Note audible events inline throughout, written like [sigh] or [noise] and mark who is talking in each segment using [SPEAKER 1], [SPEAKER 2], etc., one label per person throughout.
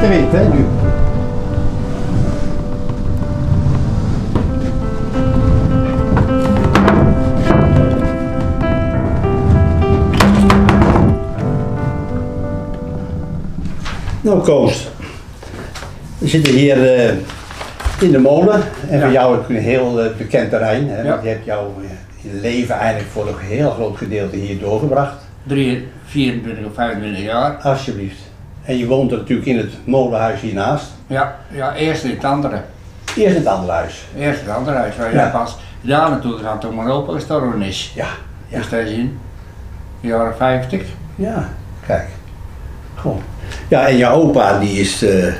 [SPEAKER 1] te weten hè, nu. Nou, Koos. We zitten hier eh, in de molen. En voor
[SPEAKER 2] Ja.
[SPEAKER 1] jou ook een heel eh, bekend terrein. Hè?
[SPEAKER 2] Ja.
[SPEAKER 1] Want je hebt jouw eh, je leven eigenlijk voor een heel groot gedeelte hier doorgebracht.
[SPEAKER 2] 3, 24 of 25 jaar.
[SPEAKER 1] Alsjeblieft. En je woont er natuurlijk in het molenhuis hiernaast.
[SPEAKER 2] Ja, ja eerst in het andere.
[SPEAKER 1] Eerst het andere huis.
[SPEAKER 2] Eerst het andere huis waar
[SPEAKER 1] Ja.
[SPEAKER 2] je pas daar naartoe gaat toen mijn opa gestorven is.
[SPEAKER 1] Ja. Ja.
[SPEAKER 2] Dus dat is in de jaren 50.
[SPEAKER 1] Ja. Kijk. Gewoon. Ja, en jouw opa die is, eh,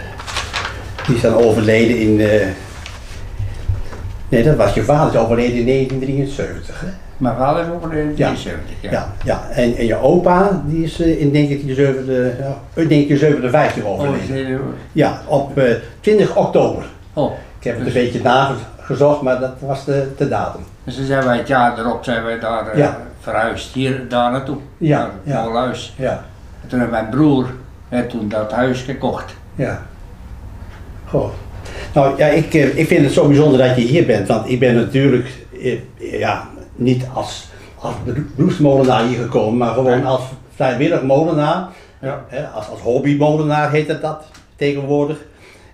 [SPEAKER 1] die is dan overleden in... eh, Nee, dat was je vader. Die is overleden in 1973. Hè?
[SPEAKER 2] Mijn vader is overleden in
[SPEAKER 1] Ja.
[SPEAKER 2] 73. Ja.
[SPEAKER 1] Ja, ja. En, en je opa die is eh, in 1957 ja, in 1957
[SPEAKER 2] Oh,
[SPEAKER 1] overleden.
[SPEAKER 2] is dit-
[SPEAKER 1] Ja, op eh, 20 oktober.
[SPEAKER 2] oh.
[SPEAKER 1] Ik heb het een
[SPEAKER 2] Dus-
[SPEAKER 1] beetje nagezocht, maar dat was de, de datum.
[SPEAKER 2] Dus dan zijn wij het jaar erop zijn wij daar eh,
[SPEAKER 1] Ja.
[SPEAKER 2] verhuisd, hier daar naartoe.
[SPEAKER 1] Ja,
[SPEAKER 2] Naar het
[SPEAKER 1] ja.
[SPEAKER 2] molenhuis.
[SPEAKER 1] Ja,
[SPEAKER 2] En toen heeft mijn broer heeft toen dat huis gekocht.
[SPEAKER 1] ja. Goh. Nou ja, ik, eh, ik vind het zo bijzonder dat je hier bent, want ik ben natuurlijk eh, ja, niet als, als beroepsmolenaar hier gekomen, maar gewoon
[SPEAKER 2] Ja.
[SPEAKER 1] als vrijwillig molenaar.
[SPEAKER 2] Ja.
[SPEAKER 1] Hè, als, als hobbymolenaar heet het dat tegenwoordig.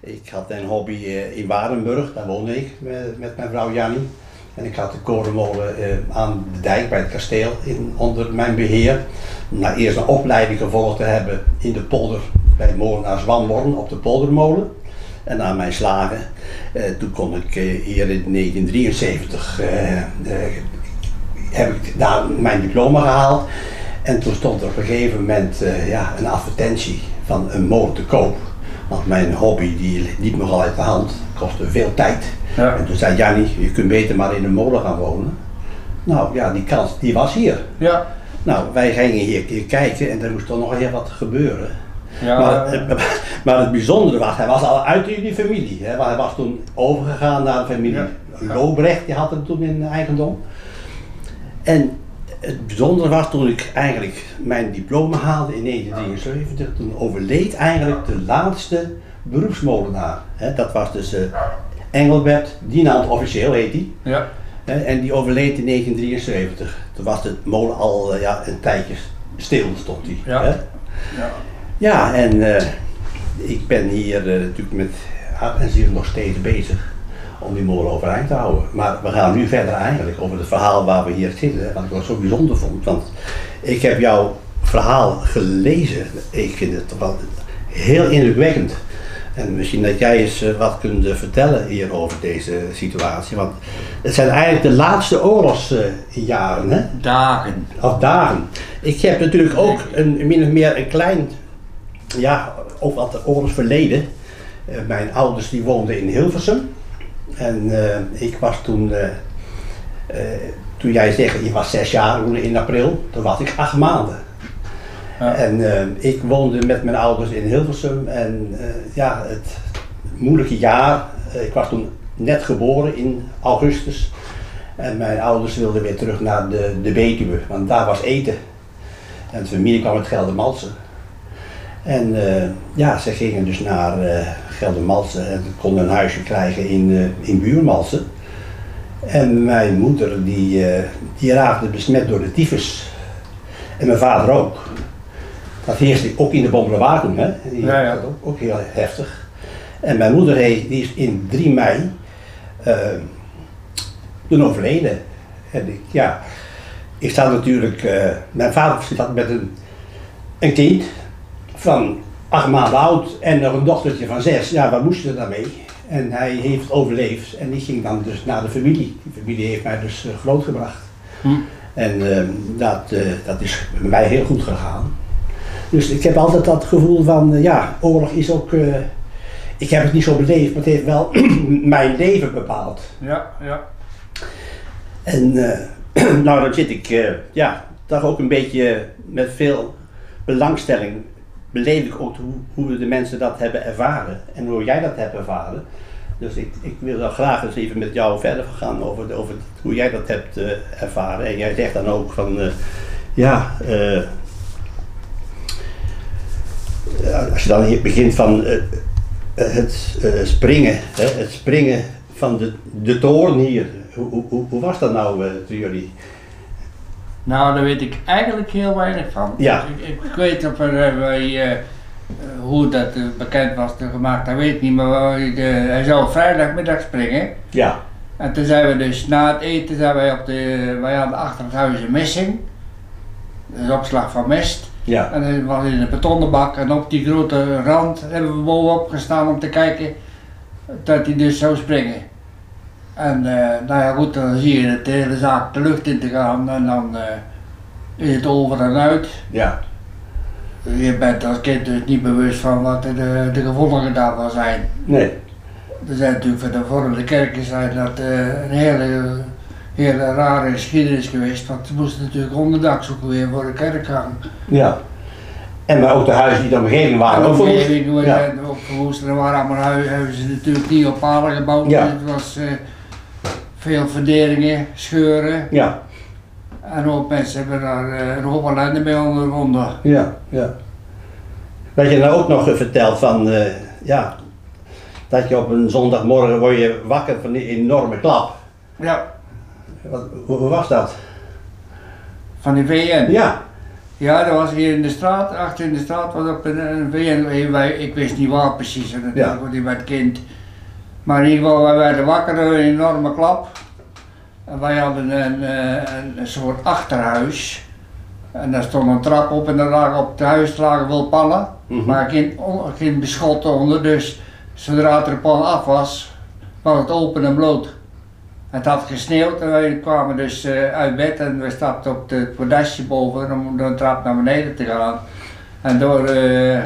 [SPEAKER 1] Ik had een hobby eh, in Warenburg, daar woonde ik met, met mijn vrouw Jannie. En ik had de korenmolen eh, aan de dijk bij het kasteel in, onder mijn beheer. Na eerst een opleiding gevolgd te hebben in de polder bij molenaar Zwanborn op de poldermolen. En na mijn slagen, eh, toen kon ik eh, hier in 1973 eh, eh, heb ik daar mijn diploma gehaald. En toen stond er op een gegeven moment eh, ja, een advertentie van een molen te koop. Want mijn hobby die liep nogal uit de hand, kostte veel tijd.
[SPEAKER 2] Ja.
[SPEAKER 1] En toen zei Jannie, je kunt beter maar in een molen gaan wonen. Nou ja, die kans die was hier.
[SPEAKER 2] Ja.
[SPEAKER 1] Nou, wij gingen hier, hier kijken en er moest toch nog heel wat gebeuren.
[SPEAKER 2] Ja.
[SPEAKER 1] Maar, eh, maar het bijzondere was, hij was al uit die familie. Hè, want hij was toen overgegaan naar de familie
[SPEAKER 2] Ja.
[SPEAKER 1] Lobrecht, die had hem toen in eigendom. En het bijzondere was toen ik eigenlijk mijn diploma haalde in 1973, toen overleed eigenlijk de laatste beroepsmolenaar. Hè, dat was dus eh, Engelbert Dienaand, officieel heet hij.
[SPEAKER 2] Ja.
[SPEAKER 1] Hè, En die overleed in 1973. Toen was het molen al eh, ja, een tijdje stil, stond hij.
[SPEAKER 2] Ja.
[SPEAKER 1] hè.
[SPEAKER 2] Ja.
[SPEAKER 1] ja en eh, ik ben hier eh, natuurlijk met hart en ziel nog steeds bezig om die molen overeind te houden. Maar we gaan nu verder eigenlijk over het verhaal waar we hier zitten. hè, Wat ik wel zo bijzonder vond. Want ik heb jouw verhaal gelezen. Ik vind het wel heel indrukwekkend. En misschien dat jij eens eh, wat kunt eh, vertellen hier over deze situatie. Want het zijn eigenlijk de laatste oorlogsjaren, hè?
[SPEAKER 2] Dagen.
[SPEAKER 1] of dagen. Ik heb natuurlijk ook een, min of meer een klein, ja, ook wat oorlogsverleden. Eh, mijn ouders die woonden in Hilversum. En eh, ik was toen, eh, eh, toen jij zegt, je was zes jaar toen in april, toen was ik acht maanden.
[SPEAKER 2] Ja.
[SPEAKER 1] En eh, ik woonde met mijn ouders in Hilversum en eh, ja, het moeilijke jaar, eh, ik was toen net geboren in augustus. En mijn ouders wilden weer terug naar de, de Betuwe, want daar was eten. En de familie kwam uit Geldermalsen. En eh, ja, ze gingen dus naar eh, Geldermalsen en konden een huisje krijgen in, eh, in Buurmalsen. En mijn moeder die, eh, die raakte besmet door de tyfus. En mijn vader ook. Dat heerste ook in de Bombelenwagen, hè? Die
[SPEAKER 2] Ja, ja.
[SPEAKER 1] had Ook, ook heel heftig. En mijn moeder heeft- die is in 3 mei eh, toen overleden. En ik, ja, ik sta natuurlijk, eh, mijn vader zat met een, een kind van acht maanden oud en nog een dochtertje van zes. Ja, waar moest je daarmee? En hij heeft overleefd en die ging dan dus naar de familie. Die familie heeft mij dus eh, grootgebracht.
[SPEAKER 2] Hm.
[SPEAKER 1] En eh, dat, eh, dat is bij mij heel goed gegaan. Dus ik heb altijd dat gevoel van, eh, ja, oorlog is ook... eh, ik heb het niet zo beleefd, maar het heeft wel [clears throat] mijn leven bepaald.
[SPEAKER 2] Ja. Ja.
[SPEAKER 1] En eh, [clears throat] nou, dan zit ik eh, ja, toch ook een beetje met veel belangstelling. Beleef ik ook hoe, hoe de mensen dat hebben ervaren en hoe jij dat hebt ervaren. Dus ik, ik wil dan graag eens even met jou verder gaan over, over hoe jij dat hebt eh, ervaren. En jij zegt dan ook van, eh, ja, eh, ja, als je dan hier begint van eh, eh, het eh, springen, hè, het springen van de, de toren hier. Hoe, hoe, hoe- hoe was dat nou eh voor jullie?
[SPEAKER 2] Nou, daar weet ik eigenlijk heel weinig van.
[SPEAKER 1] Ja.
[SPEAKER 2] Ik, ik weet of er, eh, wij, eh, eh, hoe dat eh, bekend was eh, gemaakt, dat weet ik niet. Maar wij, de- hij zou vrijdagmiddag springen.
[SPEAKER 1] Ja,
[SPEAKER 2] En toen zijn we dus na het eten, zijn wij, op de, wij hadden achter het huis een missing. Dus opslag van mest.
[SPEAKER 1] ja,
[SPEAKER 2] En dat was in een betonnen bak. En op die grote rand hebben we bovenop gestaan om te kijken dat hij dus zou springen. En eh, nou ja goed, dan zie je de hele zaak de lucht in te gaan en dan eh, is het over en uit.
[SPEAKER 1] ja,
[SPEAKER 2] Je bent als kind dus niet bewust van wat de, de gevolgen daarvan zijn.
[SPEAKER 1] nee,
[SPEAKER 2] Er zijn natuurlijk van de vormde kerken zijn dat eh, een hele, hele rare geschiedenis geweest. Want ze moesten natuurlijk onderdak zoeken weer voor de kerk gaan.
[SPEAKER 1] ja. En maar ook de huizen die de omgeving waren. ook verwoest.
[SPEAKER 2] Omgeving,
[SPEAKER 1] Ja.
[SPEAKER 2] eh, Op verwoest, er waren allemaal hui- huizen natuurlijk niet op palen gebouwd.
[SPEAKER 1] Ja.
[SPEAKER 2] Dus het was eh, veel verderingen, scheuren.
[SPEAKER 1] Ja,
[SPEAKER 2] En een hoop mensen hebben daar eh, een hoop ellende mee ondervonden.
[SPEAKER 1] ja, ja. Wat je nou ook nog eh, vertelt van, eh, ja, dat je op een zondagmorgen word je wakker van die enorme klap.
[SPEAKER 2] Ja.
[SPEAKER 1] Wat, hoe, hoe was dat?
[SPEAKER 2] Van de VN.
[SPEAKER 1] Ja,
[SPEAKER 2] Ja, dat was hier in de straat, achter in de straat was op een, een VN, wij- ik wist niet waar precies, natuurlijk,
[SPEAKER 1] Ja.
[SPEAKER 2] want ik werd kind. Maar in ieder geval, wij werden wakker door een enorme klap. En wij hadden een, eh, een, een soort achterhuis. En daar stond een trap op en daar lagen op het huis lagen wel pannen,
[SPEAKER 1] Mhm.
[SPEAKER 2] maar geen, on- geen beschot onder. Dus zodra er een pan af was, was het open en bloot. Het had gesneeuwd en wij kwamen dus eh, uit bed en we stapten op de- het podestje boven om de trap naar beneden te gaan. En door, eh,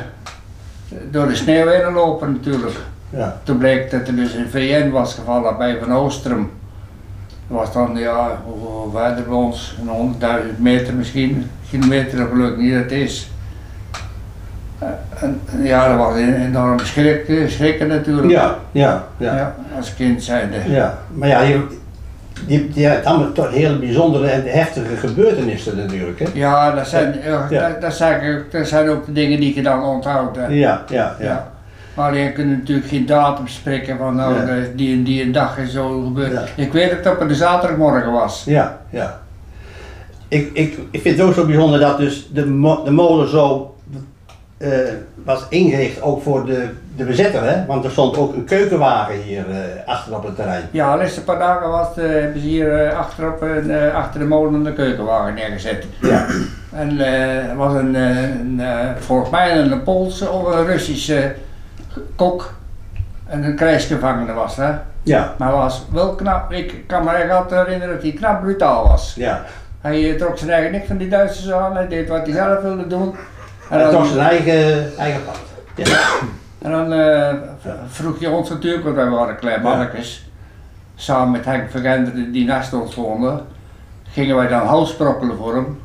[SPEAKER 2] door de sneeuw heen lopen natuurlijk.
[SPEAKER 1] ja,
[SPEAKER 2] Toen bleek dat er dus een VN was gevallen bij Van Oostrum. Dat was dan, ja, hoeveel verder bij ons, een honderdduizend meter misschien, kilometer of gelukkig niet dat het is. Eh, En, en ja, dat was een enorm schrik, eh, schrikken natuurlijk.
[SPEAKER 1] ja, ja, ja.
[SPEAKER 2] Ja, als kind zijnde.
[SPEAKER 1] Ja, maar ja, je, je, je hebt allemaal toch hele bijzondere en heftige gebeurtenissen natuurlijk, hè?
[SPEAKER 2] Ja, dat zijn, ja,
[SPEAKER 1] Ja.
[SPEAKER 2] Dat, dat zijn, ook- dat zijn ook de dingen die je dan onthoudt. hè.
[SPEAKER 1] Ja, ja, ja.
[SPEAKER 2] Ja. Maar je kunt natuurlijk geen datum spreken van nou,
[SPEAKER 1] Ja.
[SPEAKER 2] eh, die en die een dag is zo gebeurd.
[SPEAKER 1] Ja.
[SPEAKER 2] Ik weet dat het op een zaterdagmorgen was.
[SPEAKER 1] Ja, ja. Ik, ik, ik vind het ook zo bijzonder dat dus de, mo- de molen zo eh, was ingericht ook voor de, de bezetter, hè? Want er stond ook een keukenwagen hier eh, achter op het terrein.
[SPEAKER 2] Ja, de laatste paar dagen was, eh, hebben ze hier eh, achterop, een, eh, achter de molen een keukenwagen neergezet.
[SPEAKER 1] Ja,
[SPEAKER 2] En eh, er was een, eh, een, eh, volgens mij een Poolse of een Russische kok en een krijgsgevangene was hè.
[SPEAKER 1] ja,
[SPEAKER 2] Maar hij was wel knap, ik kan me echt altijd herinneren dat hij knap brutaal was.
[SPEAKER 1] ja.
[SPEAKER 2] Hij eh, trok zijn eigen niks van die Duitsers aan, hij deed wat hij zelf wilde doen. En
[SPEAKER 1] Hij
[SPEAKER 2] dan-
[SPEAKER 1] toch zijn eigen, eigen pad. Ja,
[SPEAKER 2] En dan eh, v- vroeg je ons natuurlijk, want wij waren klein mannetjes, samen met Henk Vergenderen die naast ons woonde, gingen wij dan hout sprokkelen voor hem.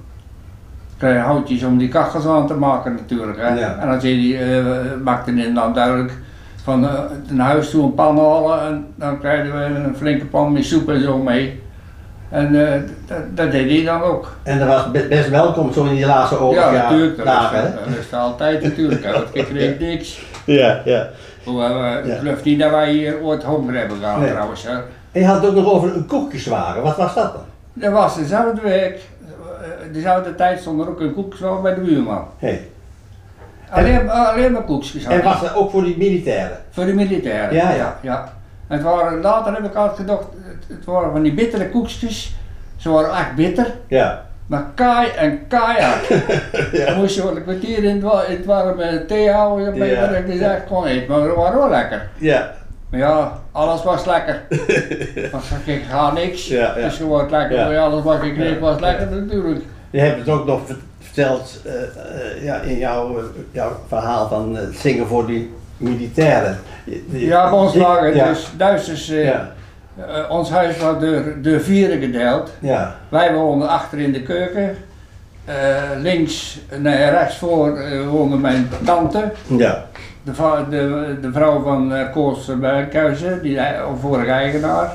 [SPEAKER 2] Kleine houtjes om die kachels aan te maken natuurlijk. Hè.
[SPEAKER 1] Ja.
[SPEAKER 2] En dan zei hij, eh, maakte hij dan duidelijk van eh een huis toe een pan halen en dan krijgen we een flinke pan met soep en zo mee. En eh, dat, dat deed hij dan ook.
[SPEAKER 1] en dat was be- best welkom zo in die laatste
[SPEAKER 2] ja,
[SPEAKER 1] oorlogsdagen,
[SPEAKER 2] natuurlijk. Dat
[SPEAKER 1] dagen, hè?
[SPEAKER 2] is, dat is altijd natuurlijk, hè, want ik
[SPEAKER 1] [laughs]
[SPEAKER 2] kreeg niks.
[SPEAKER 1] Ja, ja.
[SPEAKER 2] Hoewel, eh,
[SPEAKER 1] Ja.
[SPEAKER 2] ik geloof niet dat wij hier ooit honger hebben gehad
[SPEAKER 1] Nee.
[SPEAKER 2] trouwens. Hè.
[SPEAKER 1] En je had het ook nog over een koekjeswagen. Wat was dat dan?
[SPEAKER 2] Dat was dezelfde week, eh, dezelfde tijd stond er ook een koekjeswal bij de buurman.
[SPEAKER 1] Hey.
[SPEAKER 2] Alleen, eh, alleen maar koekjes.
[SPEAKER 1] En
[SPEAKER 2] hadden.
[SPEAKER 1] was dat ook voor die militairen?
[SPEAKER 2] Voor de militairen.
[SPEAKER 1] Ja, ja.
[SPEAKER 2] En het waren, later heb ik altijd gedacht, het, het waren van die bittere koekjes. Ze waren echt bitter,
[SPEAKER 1] Ja.
[SPEAKER 2] maar kaai en
[SPEAKER 1] [laughs]
[SPEAKER 2] kaaiak. Dan
[SPEAKER 1] ja.
[SPEAKER 2] moest je wel een kwartier in het, wa- in het warme thee houden, dan ben je
[SPEAKER 1] Ja.
[SPEAKER 2] dat ik dus echt kon eten. Maar ze waren wel lekker.
[SPEAKER 1] Ja.
[SPEAKER 2] Maar ja, alles
[SPEAKER 1] [laughs]
[SPEAKER 2] was lekker. Want ik ga niks.
[SPEAKER 1] Ja, ja.
[SPEAKER 2] Dus gewoon lekker.
[SPEAKER 1] Ja.
[SPEAKER 2] Maar ja, alles wat ik kreeg was lekker natuurlijk.
[SPEAKER 1] Je hebt het ook nog ver- verteld eh, eh, ja, in jouw, eh, jouw verhaal van eh, zingen voor die militairen. Je- die-
[SPEAKER 2] Ja, bij ons
[SPEAKER 1] die-
[SPEAKER 2] lagen
[SPEAKER 1] ja.
[SPEAKER 2] dus Duitsers. eh,
[SPEAKER 1] Ja,
[SPEAKER 2] eh, ons huis was door, door vieren gedeeld.
[SPEAKER 1] ja,
[SPEAKER 2] Wij woonden achter in de keuken. Eh, links, nee, rechts voor eh, woonde mijn tante.
[SPEAKER 1] ja,
[SPEAKER 2] De, va- de, de vrouw van eh, Koos Berghuizen, die eh, vorige eigenaar.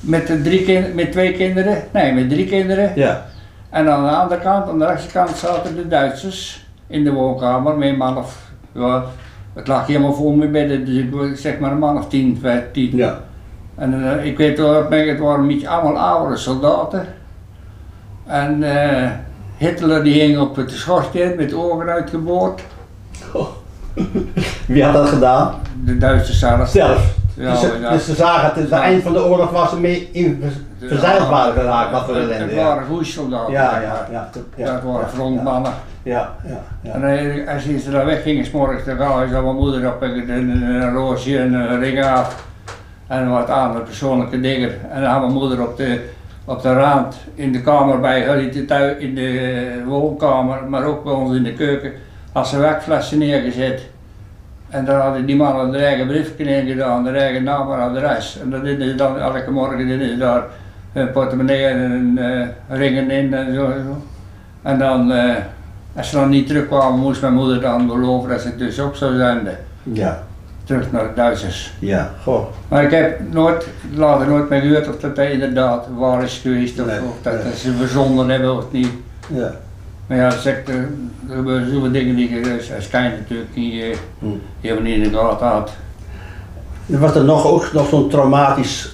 [SPEAKER 2] Met, de drie kin- met twee kinderen, nee, met drie kinderen.
[SPEAKER 1] ja,
[SPEAKER 2] En aan de andere kant, aan de rechterkant, zaten de Duitsers in de woonkamer, met een man of ja, Het lag helemaal vol met bedden, dus ik was, zeg maar een man of tien, vijftien.
[SPEAKER 1] Ja.
[SPEAKER 2] En eh, ik weet wel, dat mij- het waren een beetje allemaal oude soldaten. En eh, Hitler die hing op het schorstje met ogen uitgeboord.
[SPEAKER 1] Wie had dat gedaan?
[SPEAKER 2] De Duitsers zelf.
[SPEAKER 1] Zelf.
[SPEAKER 2] Ja,
[SPEAKER 1] dus, ze,
[SPEAKER 2] ja.
[SPEAKER 1] dus ze zagen het, het eind van de oorlog was ze mee in ver- verzeild waren geraakt, wat voor
[SPEAKER 2] Het-
[SPEAKER 1] ellende.
[SPEAKER 2] Het
[SPEAKER 1] Ja,
[SPEAKER 2] waren goede soldaten.
[SPEAKER 1] ja,
[SPEAKER 2] zeg
[SPEAKER 1] ja.
[SPEAKER 2] maar.
[SPEAKER 1] ja,
[SPEAKER 2] Dat waren frontmannen.
[SPEAKER 1] Ja, ja, ja.
[SPEAKER 2] En eh, als ze daar weggingen, s'morgens, dan gauw is dan mijn moeder op een, een, een roosje en een ring af. En wat andere persoonlijke dingen. En dan had mijn moeder op de, op de rand in de kamer bij haar, in de, thui- in de eh, woonkamer, maar ook bij ons in de keuken, had ze werkflessen neergezet. En daar hadden die mannen hun eigen briefje in gedaan, hun eigen naam en adres. En dat deden ze dan elke morgen, deden ze daar hun portemonnee en hun eh, ringen in en zo. en zo. En dan, eh, als ze dan niet terugkwamen, moest mijn moeder dan beloven dat ze het dus op zou zenden.
[SPEAKER 1] Ja,
[SPEAKER 2] Terug naar de Duitsers.
[SPEAKER 1] ja. Goh.
[SPEAKER 2] Maar ik heb nooit, later nooit meer gehoord of dat hij inderdaad waar is geweest of,
[SPEAKER 1] Nee,
[SPEAKER 2] of dat
[SPEAKER 1] nee.
[SPEAKER 2] ze verzonden hebben of niet.
[SPEAKER 1] Ja.
[SPEAKER 2] Maar ja, dat zegt, eh, er gebeuren zoveel dingen die je dus als kind natuurlijk niet, eh,
[SPEAKER 1] Hm.
[SPEAKER 2] helemaal niet in de gaten had.
[SPEAKER 1] Er was er nog, ook nog zo'n traumatisch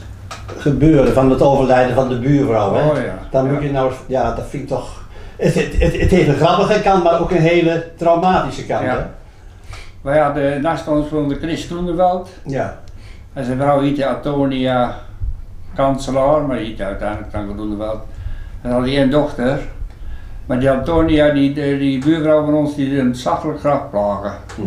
[SPEAKER 1] gebeuren van het overlijden van de buurvrouw. Hè?
[SPEAKER 2] Oh ja,
[SPEAKER 1] Dan moet
[SPEAKER 2] ja.
[SPEAKER 1] je nou, ja, dat vind ik toch. Het, het, het, het heeft een grappige kant, maar ook een hele traumatische kant.
[SPEAKER 2] Ja.
[SPEAKER 1] Hè?
[SPEAKER 2] Wij hadden naast ons woonde Chris Groeneveld
[SPEAKER 1] Ja.
[SPEAKER 2] en zijn vrouw heette "Nou, Antonia Kanselaar, maar die heette uiteindelijk dan Groeneveld. En had hij één dochter. Maar die Antonia, die, die, die buurvrouw van ons, die deed een zachtelijk graf plagen.
[SPEAKER 1] Hm.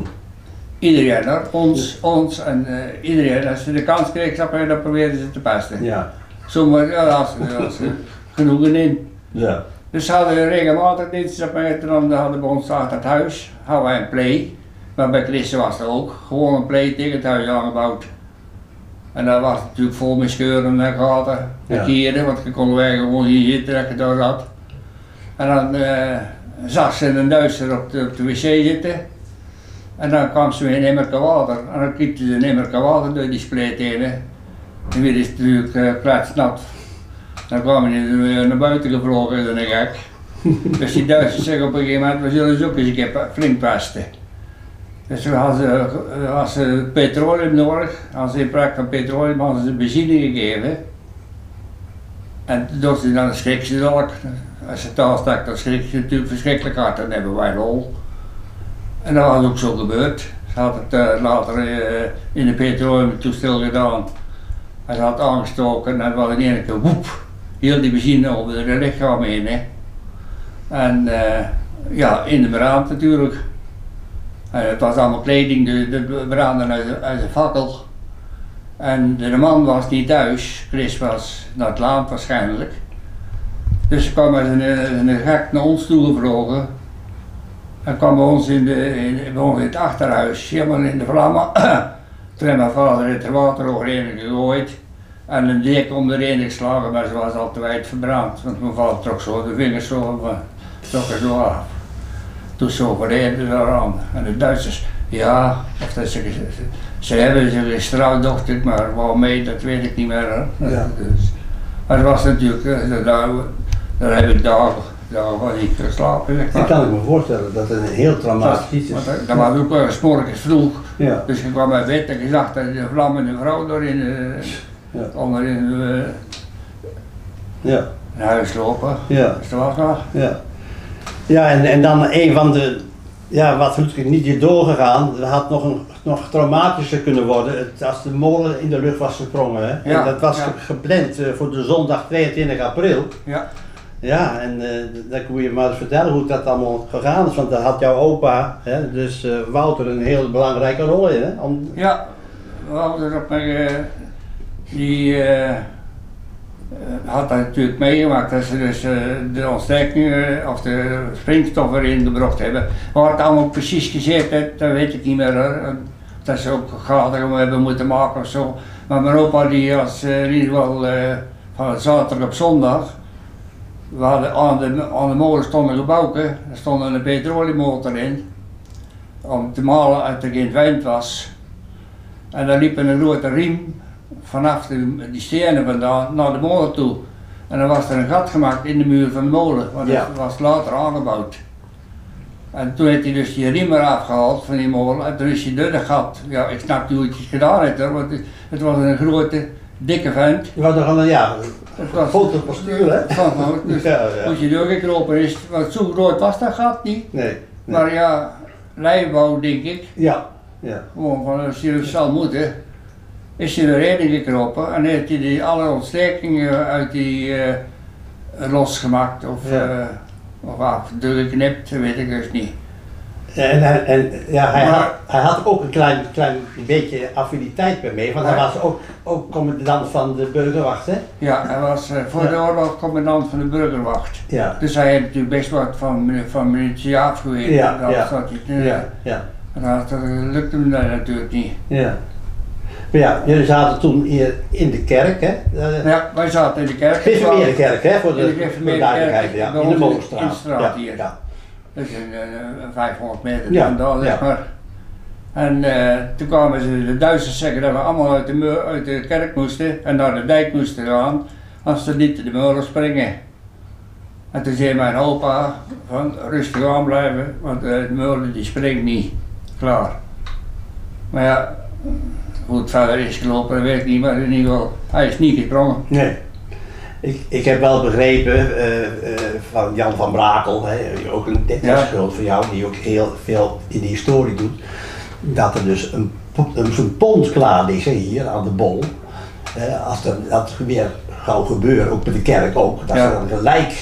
[SPEAKER 2] Iedereen hoor, ons, ons en eh, iedereen. Als ze de kans kreeg, snap je, dan probeerden ze te pesten.
[SPEAKER 1] Ja.
[SPEAKER 2] Zomaar, ja, daar had ze- daar had ze genoegen in.
[SPEAKER 1] Ja.
[SPEAKER 2] Dus ze hadden regelmatig dienstapmeten, dan hadden we ons achter het huis, hadden wij een play. Maar bij Christen was er ook gewoon een play tegen het huis aangebouwd. En dat was natuurlijk vol met scheuren en gaten en
[SPEAKER 1] Ja.
[SPEAKER 2] kieren, want je kon wij gewoon hier, hier trekken door dat. En dan eh, zag ze een Duitser op de, op de wc zitten. En dan kwam ze weer in emmerke water. En dan kiepte ze in emmerke water door die spleet heen. hè. En weer is het natuurlijk eh kletsnat. Dan kwam hij weer naar buiten gevlogen, dan een gek. dus die Duitsers zeggen op een gegeven moment, we zullen ze ook eens een keer pa- flink pesten. Dus toen hadden ze, eh, hadden ze petroleum nodig, hadden ze in plaats van petroleum hadden ze benzine gegeven. En toen dacht ze, "Nou, dan schrik ze dadelijk. Als ze taal stak, dan schrik ze natuurlijk verschrikkelijk hard, dan hebben wij lol. En dat was ook zo gebeurd. Ze had het eh, later eh, in de petroleumtoestel gedaan. Hij had aangestoken en was in één keer woep, heel die benzine over de lichaam heen. Hè. En eh, ja, in de brand natuurlijk. En het was allemaal kleding, de, de brandde uit, de- uit de fakkel. En de man was niet thuis, Chris was naar het land waarschijnlijk. Dus ze kwam als een, als een gek naar ons toegevlogen. En kwam bij ons in, de, in, bij ons in het achterhuis, helemaal in de vlammen. [clears throat] Toen heeft mijn vader het water overheen gegooid en een dek om erin geslagen, maar ze was al te wijd verbrand. Want mijn vader trok zo de vingers zo, eh, trok er zo af. Toen zo overheen er aan. En de Duitsers, ja, of dat ze, ze, ze hebben ze gestraald, dacht ik, maar waarmee, dat weet ik niet meer. Hè.
[SPEAKER 1] Ja.
[SPEAKER 2] [laughs] Dus, maar het was natuurlijk, eh, dat- daar, daar heb ik dagen, dagen van niet geslapen. zeg maar.
[SPEAKER 1] Dat kan ik me voorstellen dat het een heel traumatisch iets is.
[SPEAKER 2] Want dat- Dat was ook wel eens morgens vroeg.
[SPEAKER 1] Ja.
[SPEAKER 2] Dus ik kwam bij bed en ik zag dat de vlammende vrouw door in de,
[SPEAKER 1] Ja.
[SPEAKER 2] onder in de,
[SPEAKER 1] Ja.
[SPEAKER 2] een huis lopen.
[SPEAKER 1] Ja.
[SPEAKER 2] Dus dat was wel.
[SPEAKER 1] Ja, ja en, en dan een van de, ja, wat natuurlijk niet is doorgegaan, dat had nog, een, nog traumatischer kunnen worden het, als de molen in de lucht was gesprongen. Hè?
[SPEAKER 2] Ja,
[SPEAKER 1] En dat was
[SPEAKER 2] ja.
[SPEAKER 1] gepland eh, voor de zondag 22 april.
[SPEAKER 2] Ja.
[SPEAKER 1] Ja, en eh, dan kun je maar eens vertellen hoe dat allemaal gegaan is, want daar had jouw opa, hè, dus eh, Wouter, een heel belangrijke rol in. Hè? Om,
[SPEAKER 2] Ja, Wouter op mijn, eh, die eh, eh, had dat natuurlijk meegemaakt dat ze dus eh, de ontstekingen of de springstof erin gebracht hebben. Waar het allemaal precies gezet heeft, dat weet ik niet meer. hoor. En Dat ze ook gaten om hebben moeten maken of zo. Maar mijn opa die was eh, in ieder geval eh, van zaterdag op zondag. We hadden aan de, aan de molen stonden gebouwen, er stond een petroleummotor in. Om te malen uit er geen wind was. En daar liep een rode riem vanaf de, die stenen vandaan naar de molen toe. En dan was er een gat gemaakt in de muur van de molen, want
[SPEAKER 1] Ja.
[SPEAKER 2] dat was later aangebouwd. En toen heeft hij dus die riem eraf gehaald van die molen en toen is hij dunner gat. Ja, ik snap niet hoe hij het gedaan heeft hoor, want het was een grote, dikke vent.
[SPEAKER 1] Je was nog aan een ja,
[SPEAKER 2] Het was
[SPEAKER 1] foto postuur hè?
[SPEAKER 2] van van- dus
[SPEAKER 1] [laughs] Ja, ja.
[SPEAKER 2] moest je doorgekropen is, want zo groot was dat gat niet.
[SPEAKER 1] Nee. nee.
[SPEAKER 2] Maar ja, lijnbouw denk ik,
[SPEAKER 1] Ja, ja.
[SPEAKER 2] gewoon van als je het zal moeten, is hij er erin gekropen en heeft hij die, alle ontstekingen uit die eh, losgemaakt of,
[SPEAKER 1] Ja.
[SPEAKER 2] eh of af, doorgeknipt, weet ik dus niet.
[SPEAKER 1] En, hij- en ja, hij,
[SPEAKER 2] Maar-
[SPEAKER 1] had, hij had ook een klein, klein beetje affiniteit bij mee, want hij
[SPEAKER 2] Ja.
[SPEAKER 1] was ook, ook commandant van de burgerwacht, hè?
[SPEAKER 2] Ja, hij was eh, voor de
[SPEAKER 1] Ja.
[SPEAKER 2] oorlog commandant van de burgerwacht.
[SPEAKER 1] Ja.
[SPEAKER 2] Dus hij heeft natuurlijk best wat van, mili- van militie afgeweten.
[SPEAKER 1] Ja,
[SPEAKER 2] dat
[SPEAKER 1] ja.
[SPEAKER 2] zat hij
[SPEAKER 1] Ja,
[SPEAKER 2] te-
[SPEAKER 1] ja, ja.
[SPEAKER 2] En dat, dat lukte hem daar natuurlijk niet.
[SPEAKER 1] Maar ja, jullie zaten toen hier in de kerk, hè? Eh,
[SPEAKER 2] Ja, wij zaten in de
[SPEAKER 1] [laughs]
[SPEAKER 2] kerk.
[SPEAKER 1] Gereformeerde kerk, hè? Voor de,
[SPEAKER 2] In de
[SPEAKER 1] voor de
[SPEAKER 2] Gereformeerde
[SPEAKER 1] duidelijkheid,
[SPEAKER 2] kerk,
[SPEAKER 1] ja.
[SPEAKER 2] bij
[SPEAKER 1] In de
[SPEAKER 2] ons in-
[SPEAKER 1] Molenstraat.
[SPEAKER 2] in de straat
[SPEAKER 1] ja,
[SPEAKER 2] hier.
[SPEAKER 1] Ja.
[SPEAKER 2] Dat is een, eh, een 500 meter
[SPEAKER 1] Ja,
[SPEAKER 2] vandaan, zeg
[SPEAKER 1] ja.
[SPEAKER 2] maar. En eh, toen kwamen ze, de Duitsers zeggen dat we allemaal uit de, muur, uit de kerk moesten en naar de dijk moesten gaan als ze niet de muren springen. En toen zei mijn opa van rustig aan blijven, want eh, de muren die springt niet. Klaar. Maar ja, hoe het verder is gelopen, dat weet ik niet, maar in ieder geval, hij is niet gesprongen.
[SPEAKER 1] Nee. Ik, ik heb wel begrepen eh, eh, van Jan van Brakel, hè, ook een
[SPEAKER 2] Ja.
[SPEAKER 1] schuld van jou, die ook heel veel in de historie doet, dat er dus een, po- een- zo'n pond klaar liggen hier aan de bol. Eh, als dat, dat weer gauw gebeuren, ook bij de kerk ook, dat
[SPEAKER 2] Ja.
[SPEAKER 1] ze dan gelijk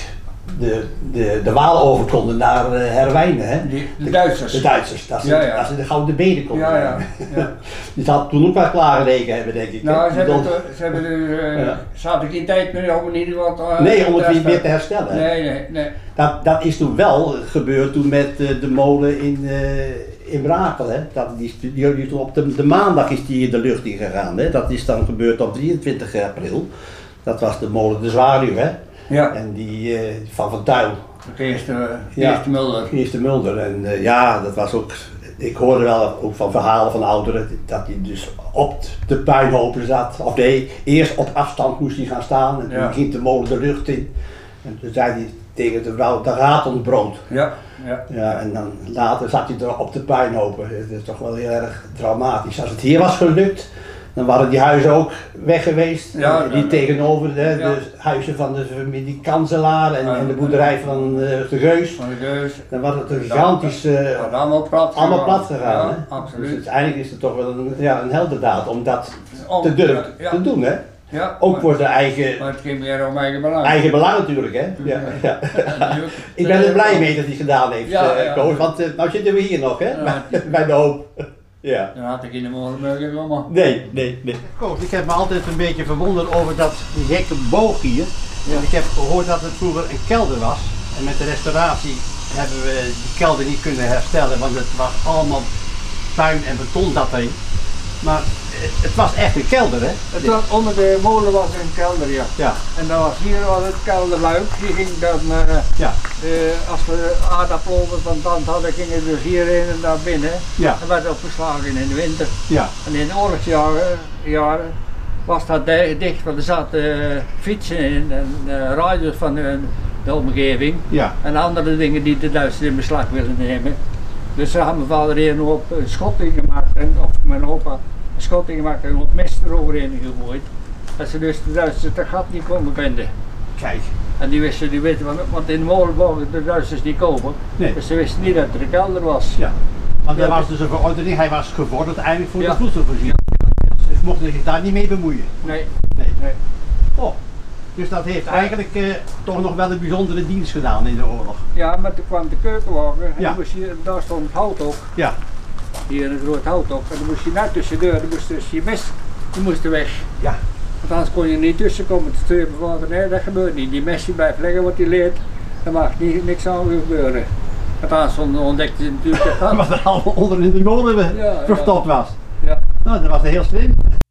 [SPEAKER 1] de, de, de Waal over konden naar eh, Herwijnen. Hè.
[SPEAKER 2] Die- de Duitsers.
[SPEAKER 1] De Duitsers, dat ze,
[SPEAKER 2] Ja, ja.
[SPEAKER 1] dat ze de gouden benen konden
[SPEAKER 2] Ja,
[SPEAKER 1] [laughs]
[SPEAKER 2] ja,
[SPEAKER 1] nemen.
[SPEAKER 2] ja.
[SPEAKER 1] Dus dat had toen ook wel klaargelegen hebben, denk ik. hè.
[SPEAKER 2] Nou, ze hebben,
[SPEAKER 1] Dat-
[SPEAKER 2] het- ze hebben dus, eh,
[SPEAKER 1] Ja.
[SPEAKER 2] ze hadden geen tijd meer om in ieder geval... te-
[SPEAKER 1] Nee, om het weer,
[SPEAKER 2] te-
[SPEAKER 1] weer te herstellen. hè.
[SPEAKER 2] Nee, nee, nee.
[SPEAKER 1] Dat, dat is toen wel gebeurd toen met eh, de molen in, eh, in Brakel. Hè? Dat, die, is- die, die is toen op de, de maandag is die in de lucht ingegaan. Hè? Dat is dan gebeurd op 23 april. Dat was de molen de Zwaluw. Hè?
[SPEAKER 2] Ja,
[SPEAKER 1] En die eh, van Van Tuil,
[SPEAKER 2] de eerste, eh, de
[SPEAKER 1] Ja.
[SPEAKER 2] eerste Mulder.
[SPEAKER 1] die is de Mulder. En eh, ja, dat was ook... Ik hoorde wel ook van verhalen van ouderen dat hij dus op de puinhopen zat. Of nee, eerst op afstand moest hij gaan staan en toen
[SPEAKER 2] Ja.
[SPEAKER 1] ging de molen de lucht in. En toen zei hij tegen de vrouw, daar gaat ons brood.
[SPEAKER 2] Ja, ja.
[SPEAKER 1] Ja, en dan later zat hij er op de puinhopen. Het is toch wel heel erg dramatisch. Als het hier was gelukt, dan waren die huizen ook weg geweest.
[SPEAKER 2] Ja,
[SPEAKER 1] die
[SPEAKER 2] ja.
[SPEAKER 1] tegenover de,
[SPEAKER 2] Ja.
[SPEAKER 1] de huizen van de familie Kanselaar en,
[SPEAKER 2] Ja.
[SPEAKER 1] en de boerderij van eh, de Geus.
[SPEAKER 2] Van de Geus.
[SPEAKER 1] Dan was het een gigantisch, eh,
[SPEAKER 2] Dat had allemaal plat
[SPEAKER 1] allemaal plat gegaan.
[SPEAKER 2] Ja,
[SPEAKER 1] hè? Dus
[SPEAKER 2] absoluut. Dus
[SPEAKER 1] uiteindelijk is het toch wel een, ja, een heldendaad om dat
[SPEAKER 2] Om-
[SPEAKER 1] te durven
[SPEAKER 2] ja,
[SPEAKER 1] te doen. Hè?
[SPEAKER 2] Ja,
[SPEAKER 1] Ook
[SPEAKER 2] maar-
[SPEAKER 1] voor zijn eigen,
[SPEAKER 2] Maar het ging meer om eigen belang.
[SPEAKER 1] eigen belang natuurlijk. Hè? Ja, ja. [laughs] Ik ben er blij mee dat hij het gedaan heeft,
[SPEAKER 2] Ja,
[SPEAKER 1] eh,
[SPEAKER 2] ja.
[SPEAKER 1] Koos, want eh, nou zitten we hier nog, hè?
[SPEAKER 2] Ja.
[SPEAKER 1] Bij- [laughs] Bij de hoop. Ja.
[SPEAKER 2] Dan had ik in de morgenmorgen komen.
[SPEAKER 1] Nee, nee, nee. Koos, ik heb me altijd een beetje verwonderd over dat die gekke boog hier. Want Ik heb gehoord dat het vroeger een kelder was. En met de restauratie hebben we die kelder niet kunnen herstellen, want het was allemaal puin en beton dat erin. Maar het, het was echt een kelder, hè?
[SPEAKER 2] Het was onder de molen was een kelder, ja.
[SPEAKER 1] Ja,
[SPEAKER 2] En dan was hier was het kelderluik. Die ging dan... eh,
[SPEAKER 1] ja,
[SPEAKER 2] Eh, als we aardappelen van tand hadden, gingen we dus hierin en daar binnen.
[SPEAKER 1] ja,
[SPEAKER 2] En werd opgeslagen in de winter.
[SPEAKER 1] ja.
[SPEAKER 2] En in de oorlogsjaren jaren was dat di- dicht, want er zaten eh, fietsen in en eh, rijders van eh, de omgeving.
[SPEAKER 1] Ja,
[SPEAKER 2] En andere dingen die de Duitsers in beslag wilden nemen. Dus daar had mijn vader een op een schotting gemaakt, en, of mijn opa een schotting gemaakt en wat mest eroverheen gegooid. Dat ze dus de Duitsers dat gat niet konden vinden.
[SPEAKER 1] kijk.
[SPEAKER 2] En die wisten niet weten, want, want in de molen mogen de Duitsers niet komen.
[SPEAKER 1] Nee.
[SPEAKER 2] Dus ze wisten niet dat er een kelder was.
[SPEAKER 1] Ja. Want er
[SPEAKER 2] Ja.
[SPEAKER 1] was dus een verordening, hij was gevorderd eigenlijk voor de
[SPEAKER 2] Ja.
[SPEAKER 1] voedselvoorziening. Dus mocht zich daar niet mee bemoeien.
[SPEAKER 2] Nee,
[SPEAKER 1] Nee.
[SPEAKER 2] nee.
[SPEAKER 1] Oh. Dus dat heeft eigenlijk eh, toch nog wel een bijzondere dienst gedaan in de oorlog.
[SPEAKER 2] Ja, maar toen kwam de keukenwagen en
[SPEAKER 1] Ja.
[SPEAKER 2] toen moest je, daar stond het hout op,
[SPEAKER 1] Ja,
[SPEAKER 2] hier een groot hout op. En dan moest je naar tussendoor, dan moest dus je mes, die moest er weg.
[SPEAKER 1] [laughs] ja,
[SPEAKER 2] Want anders kon je niet tussenkomen. Toen zei mijn vader, nee dat gebeurt niet. Die mes die blijft liggen wat hij leert, daar mag niet, niks aan gebeuren. Want anders
[SPEAKER 1] [laughs]
[SPEAKER 2] ontdekte ze natuurlijk dat.
[SPEAKER 1] wat er allemaal onder in de molen eh,
[SPEAKER 2] Ja, ja.
[SPEAKER 1] verstopt was.
[SPEAKER 2] Ja.
[SPEAKER 1] Nou, dat was heel slim.